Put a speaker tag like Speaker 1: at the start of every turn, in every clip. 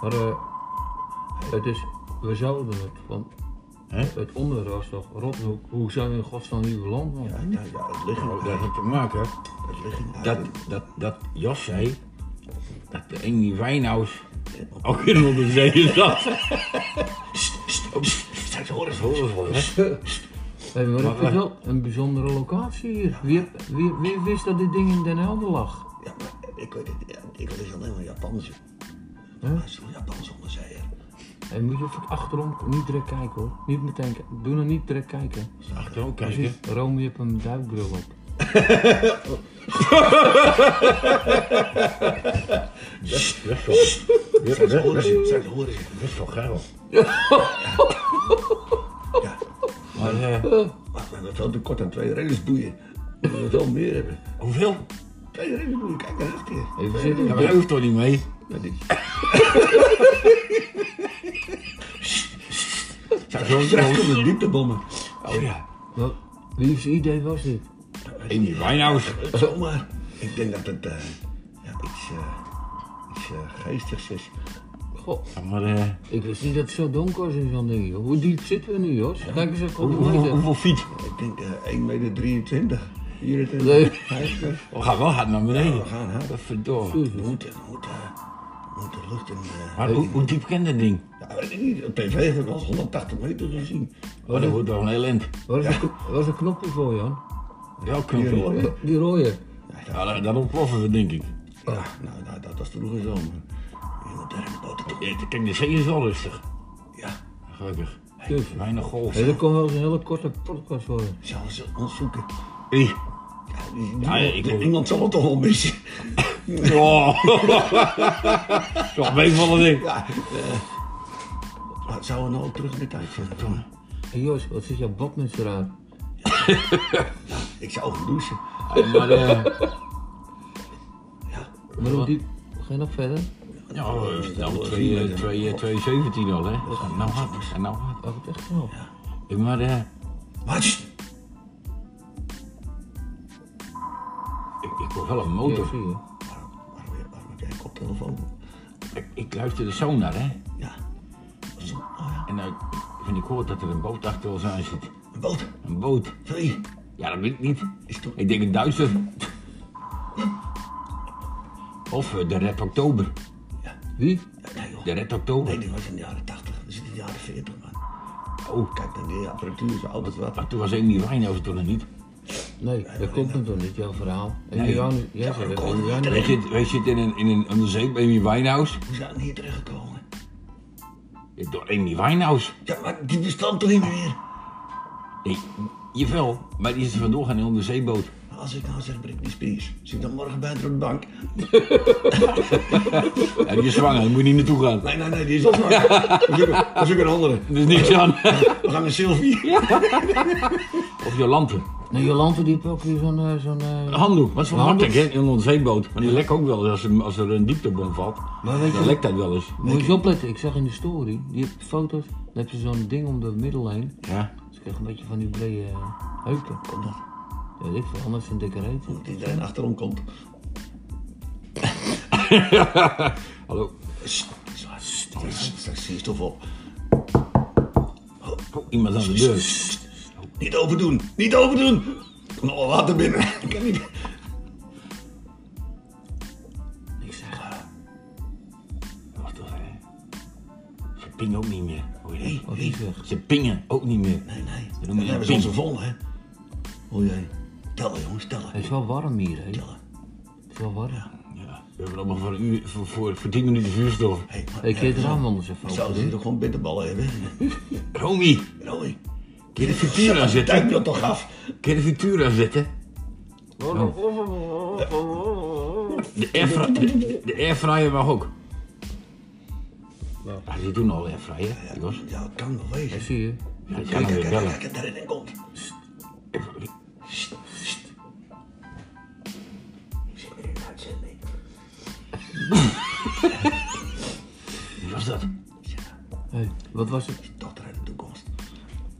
Speaker 1: Maar eh, het is, we zouden het, want
Speaker 2: Hè?
Speaker 1: het onderwerp was toch, Rothoek, hoe zou je in godsnaam nieuw land
Speaker 2: Ja,
Speaker 1: wonen?
Speaker 2: nou ja, het lichaam,
Speaker 3: Dat heeft te maken
Speaker 2: het lichaam.
Speaker 3: dat, dat, dat Jos zei dat de Amy Wijnhuis ook in onder zee zat. Sst, sst, oh, sst, Straks hoor eens, hoor eens, hoor eens.
Speaker 1: Hey, maar het is wel een bijzondere locatie hier. Wie, wie, wie wist dat dit ding in Den Helder lag?
Speaker 2: Ja, maar ik weet het, ja, ik lees alleen maar Japans.
Speaker 1: Hè?
Speaker 2: Maar het is toch Japans onderzeeër?
Speaker 1: Hey, moet je even achterom niet direct kijken hoor. Niet meteen kijken. Doe nog niet direct kijken.
Speaker 3: Achterom kijken.
Speaker 1: Precies, Rome, je hebt een duikbril op.
Speaker 3: Dat is wel- dat- dat-
Speaker 2: Straks horen
Speaker 3: dat-
Speaker 2: ze, straks horen ze.
Speaker 3: dat is wel geil.
Speaker 2: Ja,
Speaker 3: Maar eh,
Speaker 2: maar we hebben veel tekort aan twee reddingsboeien. We moeten wel meer hebben.
Speaker 3: hoeveel?
Speaker 2: Twee reddingsboeien, kijk naar achter je.
Speaker 1: Even
Speaker 3: Ja,
Speaker 1: zitten.
Speaker 3: maar dat hoeft toch niet mee?
Speaker 2: Ja, dit-
Speaker 3: Straks hoor
Speaker 2: Straks
Speaker 3: eens.
Speaker 2: komen de dieptebommen.
Speaker 3: Oh ja.
Speaker 1: Wat, wiens idee was dit?
Speaker 3: Amy Wijnhuis.
Speaker 2: Zomaar. Ik denk dat het eh, ja, iets, eh, iets eh, geestigs is.
Speaker 1: Goh,
Speaker 3: Ja, maar eh,
Speaker 1: ik wist niet dat het zo donker was in zo'n ding joh. Hoe diep zitten we nu Jos? Kijk eens even
Speaker 3: hoe-
Speaker 1: hoe
Speaker 3: hoe-
Speaker 1: heet het?
Speaker 3: hoeveel fiets?
Speaker 2: Ik denk eh 1,23 meter. 23. Hier het eh, in
Speaker 1: Nee.
Speaker 3: We gaan wel hard naar beneden.
Speaker 2: Ja, we gaan hard.
Speaker 3: Verdomme.
Speaker 2: We moeten, we moeten, we moeten lucht in. eh,
Speaker 3: Maar hoe, hoe diep kent dat ding?
Speaker 2: ja, weet ik niet. Op tv heb ik wel eens 180 meter gezien.
Speaker 3: Oh, dat wordt wel een heel end.
Speaker 1: Waar is, een, waar is een knopje voor Jan?
Speaker 3: Welk
Speaker 2: Hier,
Speaker 3: knopje?
Speaker 2: hoor.
Speaker 1: Die rode.
Speaker 3: Ja, dan, dan ontploffen we, denk ik.
Speaker 2: Ja, nou, nou, dat was vroeger zo. maar Je moet daar in de boter toe.
Speaker 3: Ja, Kijk, de zee is wel rustig.
Speaker 2: Ja,
Speaker 3: Gelukkig.
Speaker 1: Dus.
Speaker 3: Weinig golf.
Speaker 1: Hey, dat kon wel eens een hele korte podcast worden.
Speaker 2: zullen ze ons zoeken?
Speaker 3: Hey.
Speaker 2: Ja, die-
Speaker 3: Ja,
Speaker 2: die-
Speaker 3: ik
Speaker 2: de-
Speaker 3: wil-
Speaker 2: Engeland zal het toch wel missen.
Speaker 3: Oh. Zo, een beetje van dat ding.
Speaker 2: Ja, eh, maar zouden we nou ook terug in de tijd gaan? jongen?
Speaker 1: Hey, Jos, wat zit jouw badmuts eruit?
Speaker 2: Ik zou gaan douchen.
Speaker 3: Maar, eh,
Speaker 2: Ja,
Speaker 1: Maar hoe diep? Ga je nog verder?
Speaker 3: ja, oh, we staan op 217 eh, al, hè. Dat gaat nou hard. En nou hard.
Speaker 1: Oh, het echt knap.
Speaker 3: Ik Maar, eh,
Speaker 2: Maar sst,
Speaker 3: ik, ik hoor wel een
Speaker 1: Ja,
Speaker 3: motor.
Speaker 1: zie je.
Speaker 2: waarom, waarom, waarom heb jij een koptelefoon?
Speaker 3: Ik, ik luister er zo naar, hè.
Speaker 2: Ja, zo, oh ja,
Speaker 3: En dan vind ik hoor dat er een boot achter ons aan zit.
Speaker 2: een boot.
Speaker 3: Een boot.
Speaker 2: Twee,
Speaker 3: Ja, dat weet ik niet.
Speaker 2: is toch...
Speaker 3: Ik denk een Duitser. Of eh, de Red Oktober.
Speaker 1: Wie?
Speaker 2: Ja, nee, joh.
Speaker 3: De Red Oktober.
Speaker 2: Nee, die was in de jaren 80. We zitten in de jaren 40, man.
Speaker 3: Oh,
Speaker 2: Kijk, dan die apparatuur is altijd wat.
Speaker 3: maar toen was Amy Winehouse toch nog niet?
Speaker 1: Nee, dat komt hem toch niet, jouw verhaal. En
Speaker 3: Nee.
Speaker 1: Jan, jij
Speaker 2: maar
Speaker 1: zegt
Speaker 2: dat
Speaker 1: dat
Speaker 2: kon
Speaker 1: en Jan-
Speaker 2: niet.
Speaker 3: Wij zitten, wij zitten in een, in een onderzeep bij Amy Winehouse.
Speaker 2: Hoe zijn we hier terechtgekomen?
Speaker 3: Door Amy Winehouse.
Speaker 2: Ja, maar die bestond toch niet meer?
Speaker 3: Nee, jawel, maar die is er vandoor gaan in een onderzeeboot.
Speaker 2: Als ik nou zeg Britney Spears, zit dan morgen bij de bank.
Speaker 3: Ja, die is zwanger, daar moet je niet naartoe gaan.
Speaker 2: Nee, nee, nee, die is al zwanger. We zoeken- We zoeken een andere.
Speaker 3: Er is niks aan.
Speaker 2: We gaan naar Sylvie.
Speaker 3: Of Jolante.
Speaker 1: Nee, Jolante die heeft ook weer zo'n... eh, zo'n eh,
Speaker 3: Een handdoek, wat voor
Speaker 1: Een
Speaker 3: handdoek hè,
Speaker 1: handdoek.
Speaker 3: in een onderzeeboot. Maar die lekt ook wel eens als, er- als er een dieptebom valt.
Speaker 1: Maar weet je-
Speaker 3: Dan lekt dat wel eens.
Speaker 1: Moet je eens opletten, ik zag in de story, die heeft foto's, dan heb je zo'n ding om de middel heen.
Speaker 3: Ja.
Speaker 1: Dus ik krijg een beetje van die brede eh, heupen.
Speaker 2: Kom dat.
Speaker 1: Ja, ik vind anders een dikke reet.
Speaker 2: Dat iedereen achterom komt.
Speaker 3: Hallo.
Speaker 2: Sst, zwaar. Straks straks zie je stof op.
Speaker 3: Oh, iemand aan de deur.
Speaker 2: Niet open doen, niet open doen. Er komt allemaal water binnen. Ik kan niet.
Speaker 1: Ik zeg,
Speaker 3: Wacht toch, hè. Ze pingen ook niet meer. Hoor je
Speaker 2: Nee,
Speaker 3: dat?
Speaker 1: wat
Speaker 2: nee,
Speaker 1: is weg.
Speaker 3: Ze pingen ook niet meer.
Speaker 2: nee. nee.
Speaker 3: Dat
Speaker 2: Dan
Speaker 3: noem je
Speaker 2: hebben
Speaker 3: een
Speaker 2: ze
Speaker 3: ping.
Speaker 2: ons gevonden, hè. O jee. Tellen, jongens, tellen.
Speaker 1: Het is wel warm hier, hè?
Speaker 2: Tellen.
Speaker 1: Het is wel warm.
Speaker 3: Ja, we hebben allemaal voor, een uur, voor, voor, voor 10 minuten vuurstof.
Speaker 2: Hey, maar-
Speaker 1: Ik keer het raam anders even open.
Speaker 2: Zouden ze hier ook gewoon bitterballen hebben?
Speaker 3: Romy,
Speaker 2: Roy,
Speaker 3: kun je de frituur aanzetten?
Speaker 2: duik me toch af.
Speaker 3: Kun je de frituur aanzetten? Oh. De airfryer, de, de airfryer mag ook. Ah, die doen al airfryer, Jos.
Speaker 2: Ja, het kan wel
Speaker 1: Ja,
Speaker 2: wezen.
Speaker 1: zie je?
Speaker 3: Ja, ik kan
Speaker 2: Kijk,
Speaker 3: hem
Speaker 2: kijk,
Speaker 3: weer
Speaker 2: kijk,
Speaker 3: bellen.
Speaker 2: kijk, kijk, daar in komt. Zit weer in de uitzending.
Speaker 3: Wie was dat?
Speaker 1: Hey, wat was het,
Speaker 2: Dochter uit de toekomst.
Speaker 3: We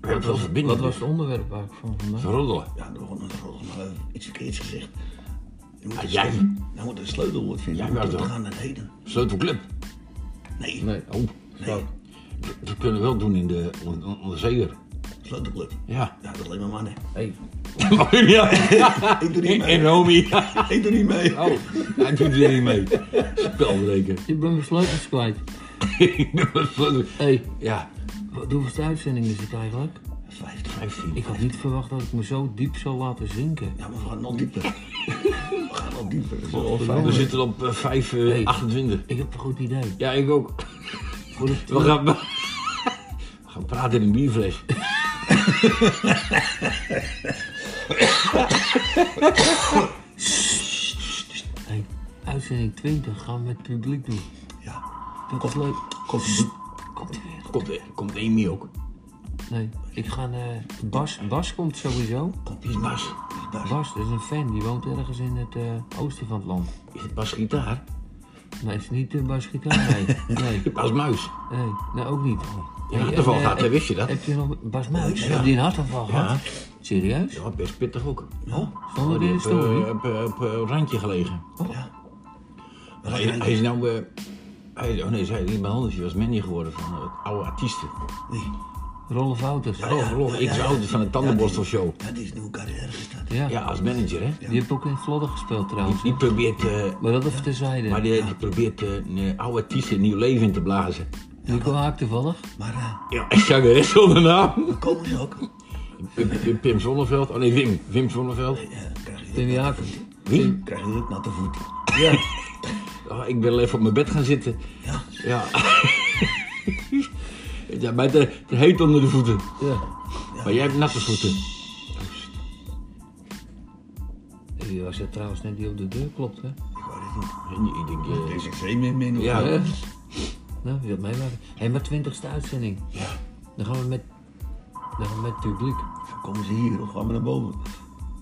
Speaker 3: hebben wel
Speaker 1: wat
Speaker 3: verbinding.
Speaker 1: was het onderwerp eigenlijk van vandaag?
Speaker 3: Roddelen.
Speaker 2: Ja, we begonnen een rol, maar we hebben iets verkeerds gezegd. Je moet
Speaker 3: Ah,
Speaker 2: een
Speaker 3: jij?
Speaker 2: sleutel- Nou moet een sleutelwoord vinden
Speaker 3: Jij
Speaker 2: om
Speaker 3: wel,
Speaker 2: terug te
Speaker 3: toch?
Speaker 2: gaan naar heden.
Speaker 3: Sleutelclub.
Speaker 2: Nee,
Speaker 1: Nee.
Speaker 3: Oh,
Speaker 2: nee.
Speaker 3: dat- dat kunnen we wel doen in de on- on- onderzeeër.
Speaker 2: Slotenclub.
Speaker 3: Ja.
Speaker 2: Ja, dat is alleen maar mannen.
Speaker 1: Hey,
Speaker 3: ja.
Speaker 2: Ik doe niet
Speaker 3: En,
Speaker 2: mee.
Speaker 3: en homie.
Speaker 2: Ik doe niet mee.
Speaker 3: Oh, hij doet weer niet mee. Spelbreker.
Speaker 1: ik ben mijn sleutels kwijt. Hey,
Speaker 3: ja,
Speaker 1: wat hoeveelste uitzending is het eigenlijk?
Speaker 2: 50.
Speaker 3: 15.
Speaker 1: Ik had niet verwacht dat ik me zo diep zou laten zinken.
Speaker 2: Ja, maar we gaan nog dieper. We gaan nog dieper. Dat is wel
Speaker 3: We,
Speaker 2: fijn.
Speaker 3: zitten op eh, 5, eh,
Speaker 1: Hey.
Speaker 3: 28.
Speaker 1: Ik heb een goed idee.
Speaker 3: Ja, ik ook.
Speaker 1: Voor de
Speaker 3: We gaan, we gaan praten in een bierfles.
Speaker 1: hey, uitzending 20 gaan we met het publiek doen.
Speaker 2: Ja.
Speaker 1: Dat is leuk.
Speaker 2: Komt.
Speaker 1: Komt hij weer?
Speaker 3: Komt, eh, komt Amy ook.
Speaker 1: Nee, ik ga naar Bas. Bas komt sowieso.
Speaker 3: Die is Bas.
Speaker 1: Bas, dat is een fan. Die woont ergens in het eh, oosten van het land.
Speaker 3: Is het Bas gitaar?
Speaker 1: Nee, het is niet de Bas Gitaar. Nee, nee,
Speaker 3: Bas Muis.
Speaker 1: nee, nee, ook niet.
Speaker 3: Ja,
Speaker 1: Hey,
Speaker 3: hartaanval
Speaker 1: en, eh,
Speaker 3: gehad, hè, wist je dat? Oh,
Speaker 1: Heb je nog Bas Muis? Heb die een hartaanval gehad? Serieus?
Speaker 3: Ja, best pittig ook.
Speaker 2: Ja.
Speaker 1: Zonder
Speaker 3: Die
Speaker 1: deze
Speaker 3: heeft, eh, Op
Speaker 1: story?
Speaker 3: eh, op, eh, een randje gelegen.
Speaker 2: Ja.
Speaker 3: Hij, hij is nou... eh, hij, oh nee, zij, die bij Hans, die was manager geworden van eh, oude artiesten.
Speaker 2: Nee.
Speaker 1: Rollen Wouters.
Speaker 3: Oh, verlof, ik zou het van de tandenborstelshow.
Speaker 2: Dat is nieuwe carrière gestart.
Speaker 1: Ja.
Speaker 3: Ja, als manager, hè.
Speaker 1: die heb ook in Vlodder gespeeld trouwens.
Speaker 3: Die probeert... eh,
Speaker 1: Maar dat even terzijde.
Speaker 3: maar die, die probeert eh, een oude artiesten nieuw leven in te blazen.
Speaker 1: Nico Haak toevallig.
Speaker 2: Maar eh,
Speaker 3: Ja, ik zag er echt zonder naam.
Speaker 2: dan komen ze ook.
Speaker 3: Pim, Pim- Pim Zonneveld. Oh nee, Wim. Wim Zonneveld.
Speaker 2: Ja, dan krijg je,
Speaker 1: Timmy Haak.
Speaker 3: Wie?
Speaker 2: krijg je het natte voet.
Speaker 1: Ja.
Speaker 3: Oh, ik ben al even op mijn bed gaan zitten.
Speaker 2: Ja.
Speaker 3: Ja. ja, maar het, eh, het heet onder de voeten.
Speaker 1: ja.
Speaker 3: Maar jij hebt natte voeten.
Speaker 1: Die was er trouwens net die op de deur klopt, hè?
Speaker 2: Ik wou dit niet.
Speaker 3: En Ik denk, eh,
Speaker 2: Er is een zee meer min.
Speaker 3: ja.
Speaker 1: Hè? Nou, je had meemaken. Hé, maar twintigste uitzending.
Speaker 2: Ja.
Speaker 1: Dan gaan we met... Dan gaan we met het publiek.
Speaker 2: Dan komen ze hier of gaan we naar boven.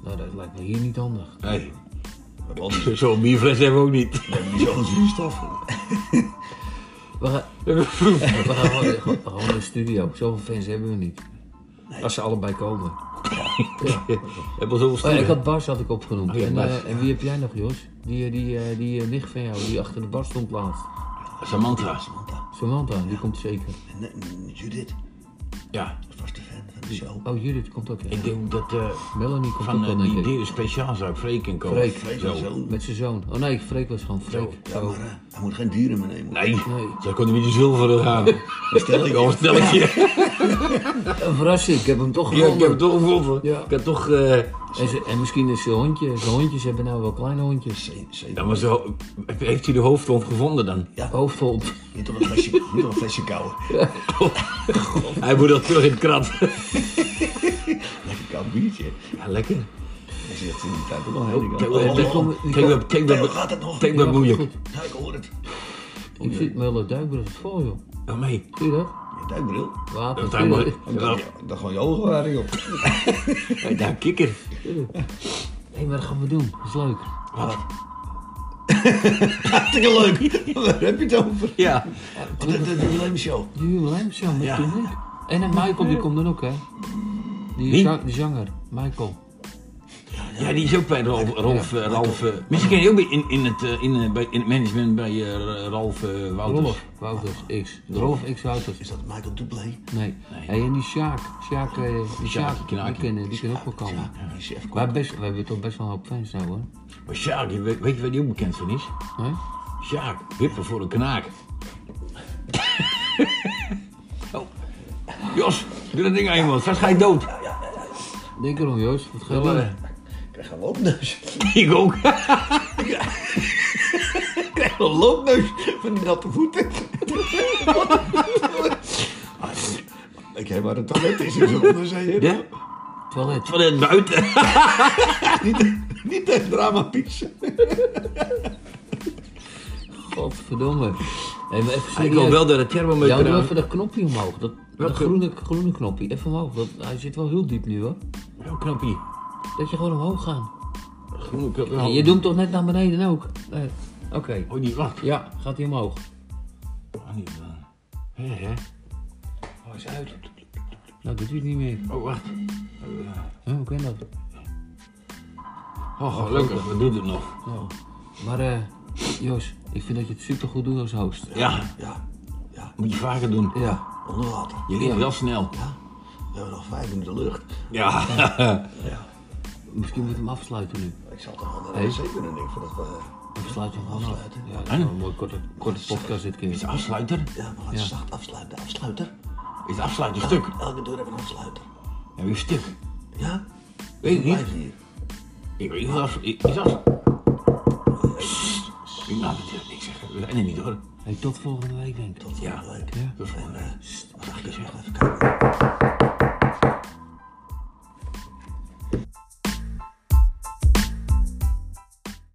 Speaker 1: Nou, dat lijkt me hier niet handig.
Speaker 3: Nee,
Speaker 2: Want anders
Speaker 3: zo'n bierfles hebben we ook niet.
Speaker 2: hebben we zo'n zuurstof.
Speaker 1: We gaan, we gaan gewoon, gewoon- gewoon in de studio. Zoveel fans hebben we niet. Als ze allebei komen.
Speaker 3: Heb al zoveel
Speaker 1: Oh, ja, ik
Speaker 3: stoelen.
Speaker 1: had Bas had ik opgenoemd.
Speaker 3: ja,
Speaker 1: en,
Speaker 3: Bas.
Speaker 1: eh, en wie heb jij nog, Jos? Die, eh, die, eh, die eh, nicht van jou, die achter de bar stond laatst.
Speaker 3: Samantha.
Speaker 2: Samantha.
Speaker 1: Samantha, die komt zeker.
Speaker 2: En eh, Judith.
Speaker 3: Ja.
Speaker 2: Dat was de fan van de show.
Speaker 1: Oh, Judith komt ook. Ja.
Speaker 3: Ik denk dat eh,
Speaker 1: Melanie komt
Speaker 3: van
Speaker 1: ook wel,
Speaker 3: eh,
Speaker 1: denk
Speaker 3: die
Speaker 1: ik.
Speaker 3: deur speciaal zou ik Freek in komen.
Speaker 1: Freek.
Speaker 2: Vrees
Speaker 3: Zo. Nou.
Speaker 2: en zo.
Speaker 1: Met zijn zoon. Oh nee, Freek was gewoon Freek.
Speaker 2: Ja, maar eh, hij moet geen dieren meer nemen.
Speaker 3: Nee,
Speaker 1: Nee.
Speaker 3: zij kon er niet zilveren gaan. Stel ik al, stel ik je.
Speaker 1: Oh, Een verrassing, ik heb hem toch
Speaker 3: Ja, ik heb
Speaker 1: gevonden.
Speaker 3: het toch gevonden.
Speaker 1: Ja.
Speaker 3: Ik heb toch... eh,
Speaker 1: en, ze- en misschien is zijn hondje. Zijn hondjes hebben nou wel kleine hondjes.
Speaker 2: Zee- zee-
Speaker 3: Ja, maar zo, heeft hij de hoofdhond gevonden dan?
Speaker 1: Hoofdhond.
Speaker 2: Niet op een flesje, niet op een flesje kouwen.
Speaker 3: Hij moet dat terug in het krat.
Speaker 2: Lekker koud biertje.
Speaker 3: Ja, lekker.
Speaker 2: Hij zegt in die tijd ook al heel
Speaker 3: Kijk,
Speaker 2: koud.
Speaker 1: die komen- die
Speaker 3: kijk, wat- kijk,
Speaker 2: Hoe
Speaker 3: wat-
Speaker 2: gaat het nog?
Speaker 3: kijk wat moeilijk.
Speaker 2: oh. Ja, ik hoor het.
Speaker 3: Oh,
Speaker 1: Ik zit met hele duikbril vol, joh.
Speaker 3: Ja, mee.
Speaker 1: Zie je dat?
Speaker 2: Je duikbril.
Speaker 1: Water.
Speaker 3: Dat hij maar-
Speaker 1: Hé,
Speaker 2: Ja, Dan gewoon je ogen waren, joh.
Speaker 3: Ja, daar, kikker.
Speaker 1: maar dat gaan we doen. Dat is leuk.
Speaker 3: Wat?
Speaker 2: Hartstikke leuk. Waar heb je het over?
Speaker 3: Ja.
Speaker 2: Wat is de jubileumshow?
Speaker 1: De jubileumshow met
Speaker 2: Ja.
Speaker 1: publiek. En, en Michael, die komt dan ook, hè? Die,
Speaker 3: Wie?
Speaker 1: zang- die zanger, Michael.
Speaker 3: Ja, die is ook bij Ralf. Ralf, eh, Ralf eh, misschien ken je ook bij- in, in, het, eh, in, eh, bij, in het management bij eh, Ralf eh Wouters.
Speaker 1: Rolf Wouters X. Rolf X
Speaker 2: Is
Speaker 1: Wouters.
Speaker 2: dat Michael Dublé?
Speaker 1: Nee. Hey, en die Sjaak. Sjaak, eh, die
Speaker 3: Sjaak,
Speaker 1: Sjaak, die
Speaker 3: knaakje.
Speaker 1: kennen, die kan ook wel komen.
Speaker 2: Ja, chef.
Speaker 1: Wij, best, wij hebben toch best wel een hoop fans nou, hoor.
Speaker 3: Maar Sjaak, je weet, weet je waar die ook bekend van is?
Speaker 1: Hè?
Speaker 3: Sjaak, hippen voor een knaak. oh. Jos, doe dat ding aan iemand, straks ga je dood.
Speaker 1: Denk erom, Joost. Wat ga je
Speaker 3: Wel,
Speaker 1: doen?
Speaker 3: eh,
Speaker 2: Ik krijg een loopneus.
Speaker 3: Ik ook.
Speaker 2: Ik krijg een loopneus van die natte voeten. Ah, Ik heb maar een toilet is in zo'n dus, eh, onderzee.
Speaker 3: Ja?
Speaker 1: Toilet.
Speaker 3: Van het buiten.
Speaker 2: Niet, niet echt drama pies.
Speaker 1: Godverdomme. Hé, maar even
Speaker 3: Ik
Speaker 1: serieus.
Speaker 3: wil wel door het
Speaker 1: Jou
Speaker 3: thermometer
Speaker 1: doe
Speaker 3: aan.
Speaker 1: even dat knopje omhoog. Dat, dat
Speaker 3: Welke?
Speaker 1: groene, groene knopje. Even omhoog. Dat, hij zit wel heel diep nu, hoor.
Speaker 3: Heel knappie.
Speaker 1: Dat je gewoon omhoog gaat.
Speaker 3: Groene kop.
Speaker 1: Ja, je doet hem toch net naar beneden ook? Nee. Oké.
Speaker 3: Oh, die wacht.
Speaker 1: Ja, gaat hij omhoog.
Speaker 3: Oh, niet dan. Hé, hè?
Speaker 1: Oh, is uit. Nou, doet hij het niet meer.
Speaker 3: Oh, wacht.
Speaker 1: Huh, hoe kan dat?
Speaker 3: Oh, gelukkig. We doen het nog.
Speaker 1: Ja. Maar eh, Jos, ik vind dat je het supergoed doet als host.
Speaker 3: Ja.
Speaker 2: Ja,
Speaker 1: Ja.
Speaker 3: Moet je vaker doen.
Speaker 1: Ja.
Speaker 2: Onder water.
Speaker 3: Je leert wel snel.
Speaker 2: Ja. We hebben nog vijf in de lucht.
Speaker 3: Ja.
Speaker 2: Ja.
Speaker 1: Misschien moet je hem afsluiten nu.
Speaker 2: Ik zal toch wel naar de wc kunnen, denk ik, eh, voordat we...
Speaker 1: Afsluiten hem gewoon af.
Speaker 2: Afsluiten.
Speaker 1: Ja, dat is wel een mooie korte, korte podcast dit
Speaker 3: Is
Speaker 1: keer.
Speaker 3: de afsluiter?
Speaker 2: Ja, we gaan
Speaker 1: Ja.
Speaker 2: zacht afsluiten. De afsluiter.
Speaker 3: Is de afsluiter stuk?
Speaker 2: Elke deur heeft een afsluiter.
Speaker 3: Ja, weer stuk.
Speaker 2: Ja?
Speaker 3: Weet ik niet.
Speaker 2: Blijf hier.
Speaker 3: Ik weet niet of ik is af. Ik laat het hier niks zeggen. We zijn er niet hoor.
Speaker 1: Hey, tot volgende week denk ik.
Speaker 2: Tot volgende
Speaker 3: Ja.
Speaker 2: week.
Speaker 1: Ja.
Speaker 2: En, eh, wat zag ik eens nog even kijken?